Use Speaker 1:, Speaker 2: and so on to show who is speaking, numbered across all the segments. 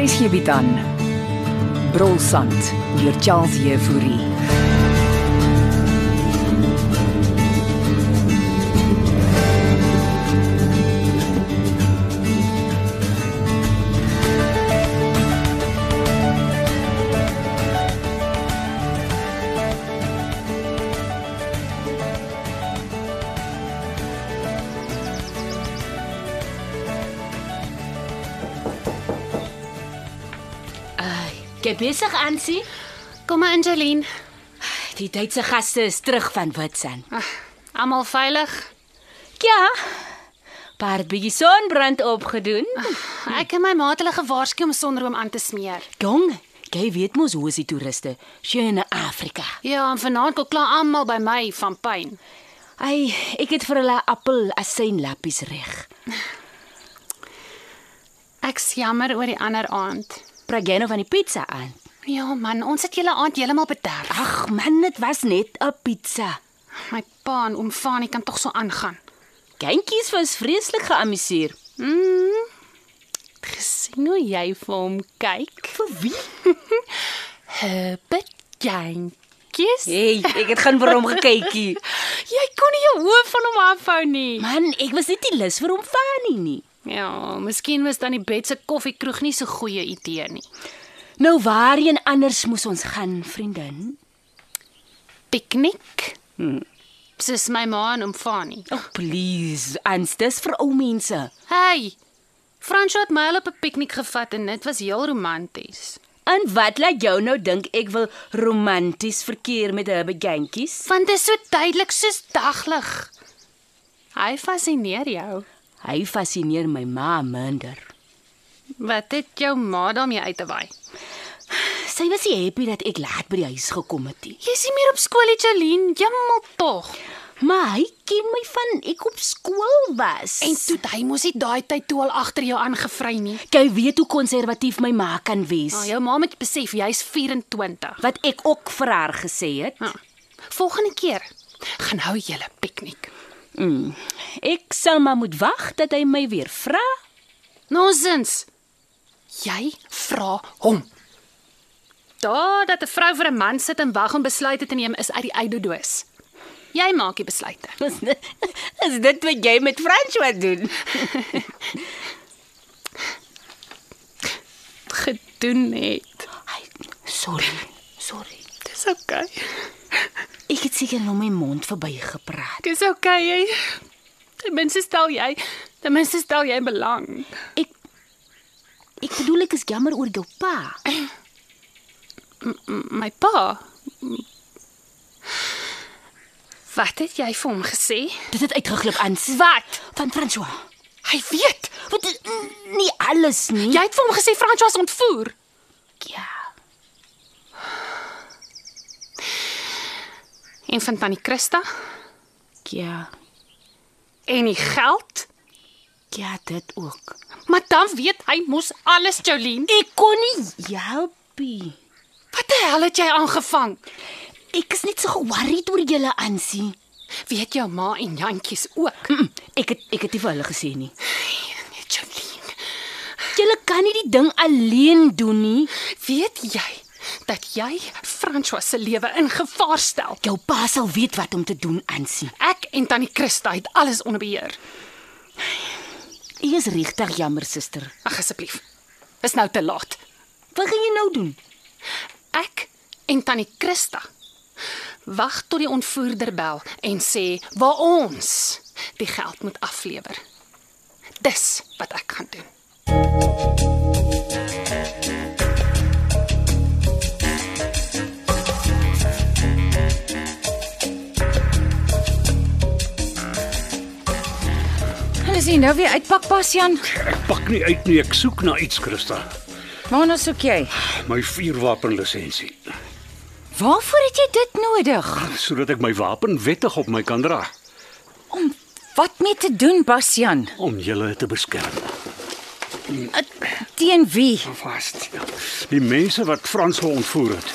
Speaker 1: Hier is hierby dan. Brolsand deur Charles Jefouri.
Speaker 2: Ai, jy besig Ansie?
Speaker 3: Kom maar Angeline.
Speaker 2: Die Duitse gaste is terug van Witsen.
Speaker 3: Ag, Almal veilig.
Speaker 2: Ja. Paar bietjie sonbrand opgedoen.
Speaker 3: Hm. Ek en my maat het hulle gewaarsku om sonroom aan te smeer.
Speaker 2: Jong, jy weet mos hoe is die toeriste sien in Afrika.
Speaker 3: Ja, en vanaand kom klaar almal by my van pyn.
Speaker 2: Ai, ek het vir hulle appel asyn lappies reg.
Speaker 3: Ek's jammer oor die ander aand.
Speaker 2: Praat jy nou van die pizza aan?
Speaker 3: Ja man, ons het julle aand heeltemal bederf.
Speaker 2: Ag man, dit was net 'n pizza.
Speaker 3: My pa en oom Fani kan tog so aangaan.
Speaker 2: Kindjies was vreeslik geamuseer.
Speaker 3: Gesien hoe jy vir hom kyk.
Speaker 2: Vir wie?
Speaker 3: Hubbert jantjies.
Speaker 2: Hey, ek het gaan vir hom gekykie.
Speaker 3: Jy kon nie jou oë van hom afhou nie.
Speaker 2: Man, ek was net nie lus vir hom van nie.
Speaker 3: Ja, miskien was dan die bed se koffiekroeg nie so goeie idee nie.
Speaker 2: Nou waarheen anders moes ons gaan, vriendin?
Speaker 3: piknik. Hmm. Soos my ma en oom Fani.
Speaker 2: Oh please, ans dis vir ou mense.
Speaker 3: Hey. Fransjo het my hulle op 'n piknik gevat en dit was heel romanties.
Speaker 2: En wat laat jou nou dink ek wil romanties verkeer met hulle begintjies?
Speaker 3: Want dit is so duidelik soos daglig. Hy fascineer jou.
Speaker 2: Hy fascineer my ma minder.
Speaker 3: Wat het jou ma daarmee uit te waai?
Speaker 2: Sy was nie happy dat ek laat by die huis gekom het nie.
Speaker 3: Jy's nie meer op skool, Jeline. Jemmel tog.
Speaker 2: Maar hy ken my van ek op skool was.
Speaker 3: En toe het hy mos nie daai tyd toe al agter jou aangevry nie.
Speaker 2: jy weet hoe konservatief my ma kan wees.
Speaker 3: Nou, jou ma moet besef jy's 24.
Speaker 2: Ah, ja. Wat ek ook vir haar gesê het.
Speaker 3: Ah. Volgende keer gaan hou julle piknik.
Speaker 2: Ek sal maar moet wag dat hy my weer vra.
Speaker 3: Nonsens. Jy vra hom. Daar dat 'n vrou vir 'n man sit en wag om besluite te neem is uit die uitdoedoos. Jy maak die besluite.
Speaker 2: Is dit, is dit wat jy met François doen?
Speaker 3: Gedoen het.
Speaker 2: Ai, sorry. Sorry.
Speaker 3: Dis oukei. Okay.
Speaker 2: Ek het seker nou my mond verbygepraat.
Speaker 3: Dis oukei. Okay, jy. Ten minste stel jy, ten minste stel jy belang.
Speaker 2: Ek Ek bedoel ek is jammer oor jou pa.
Speaker 3: M- My pa. Wat het jy vir hom gesê?
Speaker 2: Dit het uitgeglip ans
Speaker 3: Wat?
Speaker 2: van François.
Speaker 3: Hy weet.
Speaker 2: Wat is- mm, nie alles nie.
Speaker 3: Jy het vir hom gesê François is ontvoer.
Speaker 2: ja.
Speaker 3: En van tannie Christa
Speaker 2: Ja.
Speaker 3: en die geld.
Speaker 2: Ja, dit ook.
Speaker 3: Maar dan weet hy mos alles, Jolene.
Speaker 2: Ek kon nie helpie.
Speaker 3: Wat die hel het jy aangevang?
Speaker 2: Ek is net so ge-worried oor julle Ansie.
Speaker 3: Weet jou ma en Jantjies ook.
Speaker 2: Mm, Ek het ek het nie vir hulle gesê nie.
Speaker 3: Net Jolene.
Speaker 2: Julle kan nie die ding alleen doen nie.
Speaker 3: Weet jy dat jy François se lewe in gevaar stel?
Speaker 2: Jou pa sal weet wat om te doen, Ansie.
Speaker 3: Ek en tannie Christa het alles onder beheer.
Speaker 2: Ek is regtig jammer, suster.
Speaker 3: Ag asseblief. Dis nou te laat.
Speaker 2: Wat gaan jy nou doen?
Speaker 3: Ek en tannie Christa wag tot die ontvoerder bel en sê waar ons die geld moet aflewer. Dis wat ek gaan doen.
Speaker 4: Hulle sien nou weer uitpak pas Jan.
Speaker 5: Ek pak nie uit nie, ek soek na iets, Christa.
Speaker 4: Waarna soek jy?
Speaker 5: My vuurwapenlisensie,
Speaker 4: Waarvoor het jy dit nodig?
Speaker 5: sodat ek my wapen wettig op my kan dra
Speaker 4: Om wat mee te doen, Basjan?
Speaker 5: om julle te beskerm.
Speaker 4: Teen wie?
Speaker 5: Vas. Ja, Die mense wat Frans geontvoer het.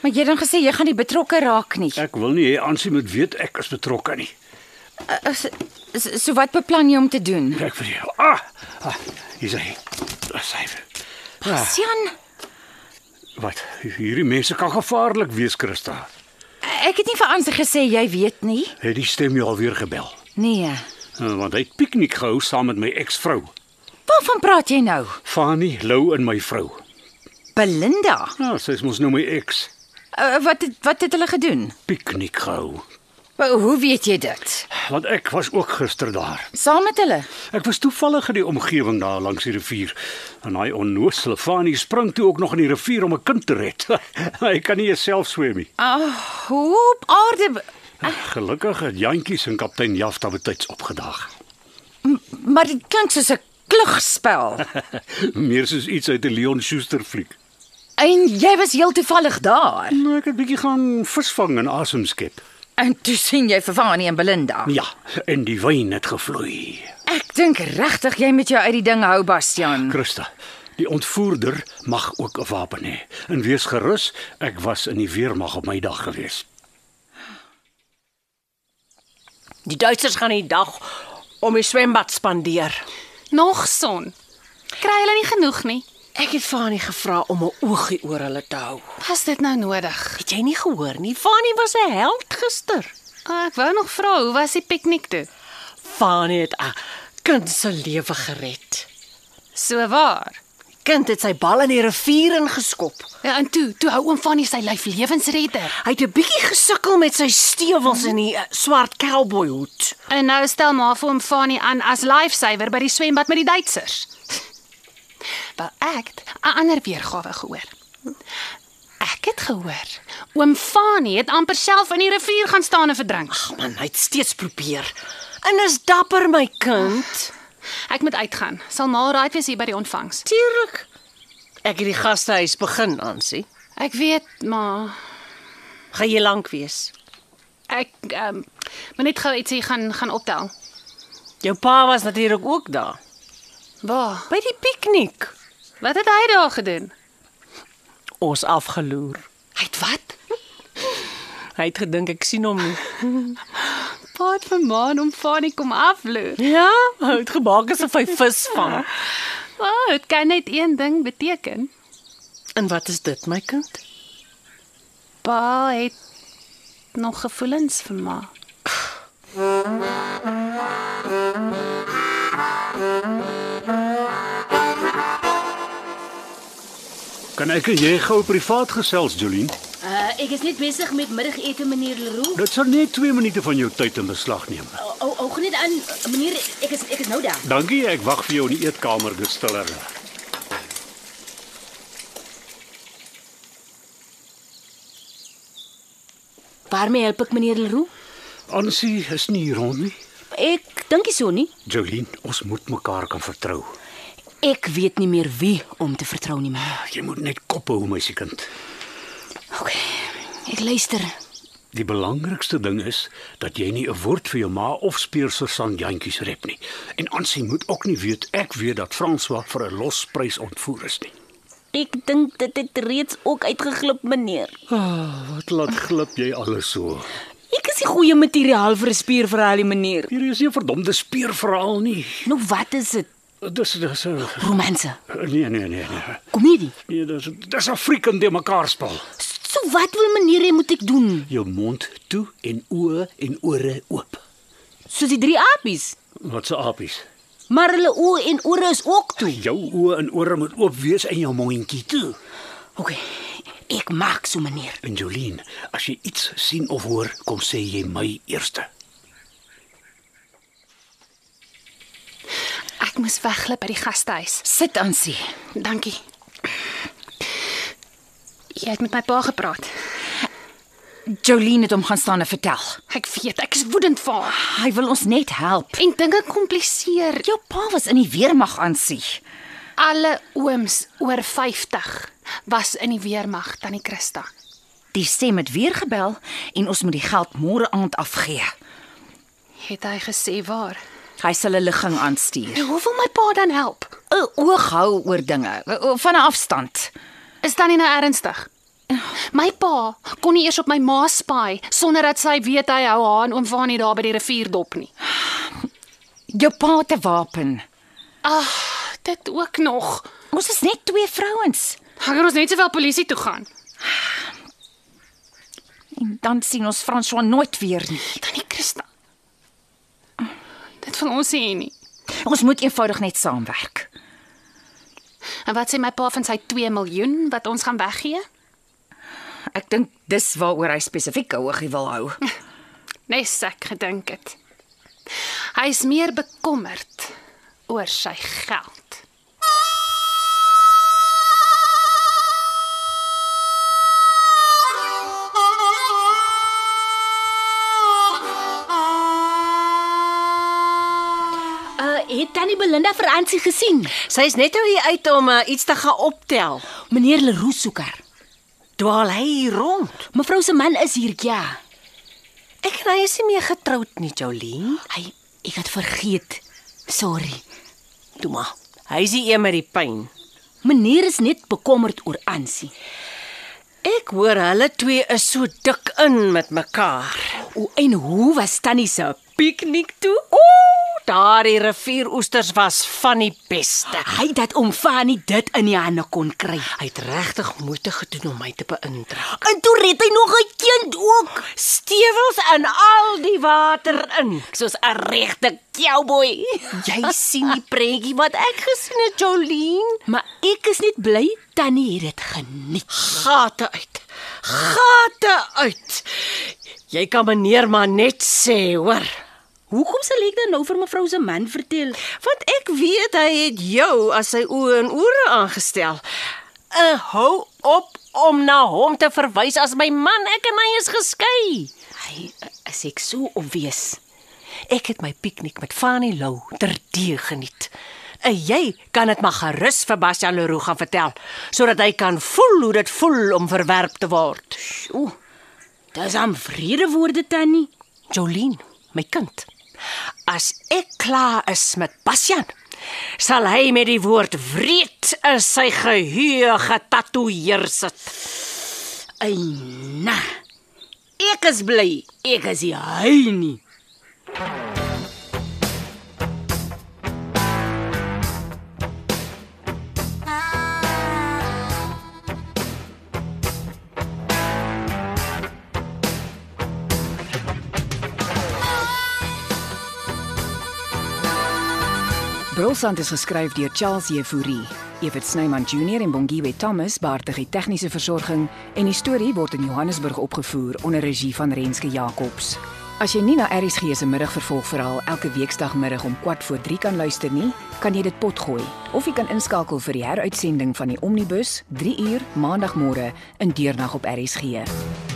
Speaker 4: Maar jy het dan gesê jy gaan nie betrokke raak nie.
Speaker 5: Ek wil nie hê Ansie moet weet ek is betrokke nie.
Speaker 4: Uh, so- So wat beplan jy om te doen?
Speaker 5: Kyk vir jou. Ah, ah hier is hy. Syfer.
Speaker 4: Ja.
Speaker 5: Ah,
Speaker 4: Sian,
Speaker 5: wat? Hierdie mense kan gevaarlik wees, Christa.
Speaker 4: ek het nie vir Ansie gesê jy weet nie.
Speaker 5: Het die stem jou alweer gebel?
Speaker 4: Nee.
Speaker 5: Eh, Want hy het piknik gehou saam met my eksvrou,
Speaker 4: Waarvan praat jy nou?
Speaker 5: Fanny Lou en my vrou.
Speaker 4: Belinda.
Speaker 5: Ja, sy is mos nou my eks.
Speaker 4: Uh, wat het, wat het hulle gedoen?
Speaker 5: Piknik gehou.
Speaker 4: Maar hoe weet jy dit?
Speaker 5: Want ek was ook gister daar.
Speaker 4: Saam met hulle.
Speaker 5: Ek was toevallig in die omgewing daar langs die rivier en daai onnoosele Fanie spring toe ook nog in die rivier om 'n kind te red. hy kan nie eens self swem nie.
Speaker 4: Ah, hoe op aarde
Speaker 5: Gelukkig het Jantjies en kaptein Jafta betyds opgedag.
Speaker 4: maar dit klink soos 'n klugspel.
Speaker 5: Meer soos iets uit 'n Leon Schuster fliek.
Speaker 4: En jy was heel toevallig daar.
Speaker 5: Nou ek het bietjie gaan visvang en asem skep.
Speaker 4: En toe sien jy vir Vanie en Belinda.
Speaker 5: Ja, en die wyn het gevloei.
Speaker 4: Ek dink regtig jy moet jou uit die ding hou, Bastian.
Speaker 5: Christa, die ontvoerder mag ook 'n wapen hê. En wees gerus, ek was in die weermag op my dag gewees.
Speaker 6: Die Duitsers gaan die dag om die swembad spandeer.
Speaker 3: Nog son. Kry hulle nie genoeg nie.
Speaker 6: Ek het Fanie gevra om 'n oogie oor hulle te hou.
Speaker 3: Was dit nou nodig?
Speaker 6: Het jy nie gehoor nie? Fanie was 'n held gister.
Speaker 3: Ah, Ek wou nog vra, hoe was die piknik toe?
Speaker 6: Fanie het 'n kind se lewe gered.
Speaker 3: So waar.
Speaker 6: Die kind het sy bal in die rivier ingeskop.
Speaker 3: Ja, en toe, toe hou oom Fanny sy lyf lewensredder.
Speaker 6: Hy het 'n bietjie gesukkel met sy stewels en die eh, swart cowboyhoed.
Speaker 3: En nou stel maar vir oom Fanny aan as lifesaver by die swembad met die Duitsers. Wel ek het 'n ander weergawe gehoor. Ek het gehoor oom Fanny het amper self in die rivier gaan staan en verdrink.
Speaker 6: Ag man, hy het steeds probeer. En is dapper my kind.
Speaker 3: Ek moet uitgaan. Sal maar raai wees hier by die ontvangs.
Speaker 6: Tuurlik. Ek het die gastehuis begin aan, sien.
Speaker 3: Ek weet, maar
Speaker 6: Gaan jy lank wees?
Speaker 3: ek ehm um, moet net gou ietsie gaan gaan optel.
Speaker 6: Jou pa was natuurlik ook daar
Speaker 3: Waar?
Speaker 6: by die piknik.
Speaker 3: Wat het hy daar gedoen?
Speaker 6: Ons afgeloer.
Speaker 3: Hy het wat?
Speaker 6: Hy het gedink ek sien hom nie.
Speaker 3: Paat vir maan om Fanny kom afloer.
Speaker 6: Ja, hy het gemaak asof hy vis vang.
Speaker 3: O, oh, dit kan net een ding beteken.
Speaker 6: En wat is dit, my kind?
Speaker 3: Pa het nog gevoelens vir ma.
Speaker 5: Kan ek en jy gou privaat gesels, Jolien?
Speaker 2: Uh, ek is net besig met middagete meneer Leroux.
Speaker 5: Dit sal net 2 minute van jou tyd in beslag neem.
Speaker 2: O, o, gaan net aan meneer, ek is ek is nou daar.
Speaker 5: Dankie, ek wag vir jou in die eetkamer, dis stiller.
Speaker 2: Waarmee help ek meneer Leroux?
Speaker 5: Ansie is nie hier rond nie.
Speaker 2: Ek dink nie so nie.
Speaker 5: Jolien, ons moet mekaar kan vertrou.
Speaker 2: Ek weet nie meer wie om te vertrou nie, meneer.
Speaker 5: Jy moet net kop hou, meisiekind.
Speaker 2: OK. Ek luister.
Speaker 5: Die belangrikste ding is dat jy nie 'n woord vir jou ma of speurser San Jantjies rep nie. En Ansie moet ook nie weet ek weet dat François vir 'n losprys ontvoer is nie.
Speaker 2: Ek dink dit het reeds ook uitgeglip, meneer.
Speaker 5: Ah, wat laat glip jy alles so?
Speaker 2: Ek is die goeie materiaal vir 'n spierverhaal, die meneer.
Speaker 5: Hier is nie 'n verdomde speurverhaal nie.
Speaker 2: Nou wat is dit?
Speaker 5: Dis dis 'n
Speaker 2: Romanse,
Speaker 5: nee nee nee nee.
Speaker 2: komedie.
Speaker 5: Nee, dis dis 'n frieken de mekaar spel.
Speaker 2: So wat wil meneer hê moet ek doen?
Speaker 5: Jou mond toe en oë en ore oop.
Speaker 2: Soos die drie apies.
Speaker 5: Wat se apies?
Speaker 2: Maar hulle oë en ore is ook toe.
Speaker 5: Jou oë en ore moet oop wees en jou mondjie toe.
Speaker 2: OK. Ek maak so, meneer.
Speaker 5: En Jolien, as jy iets sien of hoor, kom sê jy my eerste.
Speaker 3: Ek moes wegglip by die gastehuis.
Speaker 4: Sit Ansie.
Speaker 3: Dankie. Jy het met my pa gepraat.
Speaker 4: Jolene het hom gaan staan en vertel.
Speaker 3: Ek weet, ek is woedend vir haar.
Speaker 4: Hy wil ons net help.
Speaker 3: En dinge kompliseer.
Speaker 4: Jou pa was in die weermag Ansie.
Speaker 3: Alle ooms oor 50 was in die weermag tannie Christa.
Speaker 4: Die stem het weer gebel en ons moet die geld môre aand afgee.
Speaker 3: Het hy gesê waar?
Speaker 4: Hy sal 'n ligging aanstuur.
Speaker 3: Nou hoe wil my pa dan help?
Speaker 4: 'n oog hou oor dinge o- van 'n afstand.
Speaker 3: Is tannie nou ernstig? My pa kon nie eers op my ma spy sonder dat sy weet hy hou haar en oom Fanie daar by die rivier dop nie.
Speaker 4: Jou pa te wapen.
Speaker 3: Ag, dit ook nog.
Speaker 4: Ons is net twee vrouens.
Speaker 3: Gaan kan ons net sowel polisie toe gaan.
Speaker 4: En dan sien ons François nooit weer nie.
Speaker 3: Tannie Christa. Dit van ons sien nie.
Speaker 4: Ons moet eenvoudig net saamwerk.
Speaker 3: En wat sê my pa van sy 2 miljoen wat ons gaan weggee?
Speaker 4: Ek dink dis waaroor hy spesifiek oogie wil hou.
Speaker 3: Nes ek gedink het. Hy is meer bekommerd oor sy geld.
Speaker 2: Uh, het tannie Belinda vir Ansie gesien?
Speaker 6: Sy's net nou hier uit om uh, iets te gaan optel.
Speaker 2: Meneer Leroux soek haar.
Speaker 6: Dwaal hy hier rond.
Speaker 2: Mevrou se man is hier, ja.
Speaker 6: Ek en hy is nie meer getroud nie, Jolien.
Speaker 2: Hy ek het vergeet. Sorry.
Speaker 6: Toe maar. Hy is die een met die pyn.
Speaker 2: Meneer is net bekommerd oor Ansie.
Speaker 6: Ek hoor hulle twee is so dik in met mekaar.
Speaker 2: O, en hoe was tannie se?
Speaker 6: Piknik toe. Ooh, daardie rivieroesters was van die beste.
Speaker 2: Hy dat om Fanny dit in die hande kon kry.
Speaker 6: Hy het regtig moeite gedoen om my te beïndruk.
Speaker 2: En toe red hy nog 'n kind ook,
Speaker 6: Stewels in al die water in.
Speaker 2: soos 'n regte cowboy.
Speaker 6: Jy sien die prentjie wat ek gesien het, Jolien.
Speaker 2: Maar ek is net bly tannie het dit geniet.
Speaker 6: Gate uit. Gate uit. Jy kan meneer maar net sê, hoor.
Speaker 2: Hoekom sal ek dan nou vir mevrou se man vertel?
Speaker 6: Want ek weet hy het jou as sy oë en ore aangestel. Uh, hou op om na hom te verwys as my man. Ek en hy is geskei.
Speaker 2: Hy is ek so obvious.
Speaker 6: Ek het my piknik met Fanny Lou terdee geniet. En jy kan dit maar gerus vir Bastian Leroux gaan vertel sodat hy kan voel hoe dit voel om verwerp te word.
Speaker 2: O. Dis aan vrede woorde tannie.
Speaker 6: Jolien, my kind. As ek klaar is met Bastian, sal hy met die woord wreed in sy geheue getatoeëer sit.
Speaker 2: Eina. Ek is bly. Ek is nie hy nie.
Speaker 1: Brosant is geskryf deur Charles Jefouri. Evit Snyman Junior en Bongwe Thomas baartig die tegniese versorging en die storie word in Johannesburg opgevoer onder regie van Renske Jacobs. As jy nie na ERG se middagvervolgverhaal elke weekdagmiddag om 14:03 kan luister nie, kan jy dit potgooi of jy kan inskakel vir die heruitsending van die Omnibus 3 uur maandagmôre in deernag op ERG.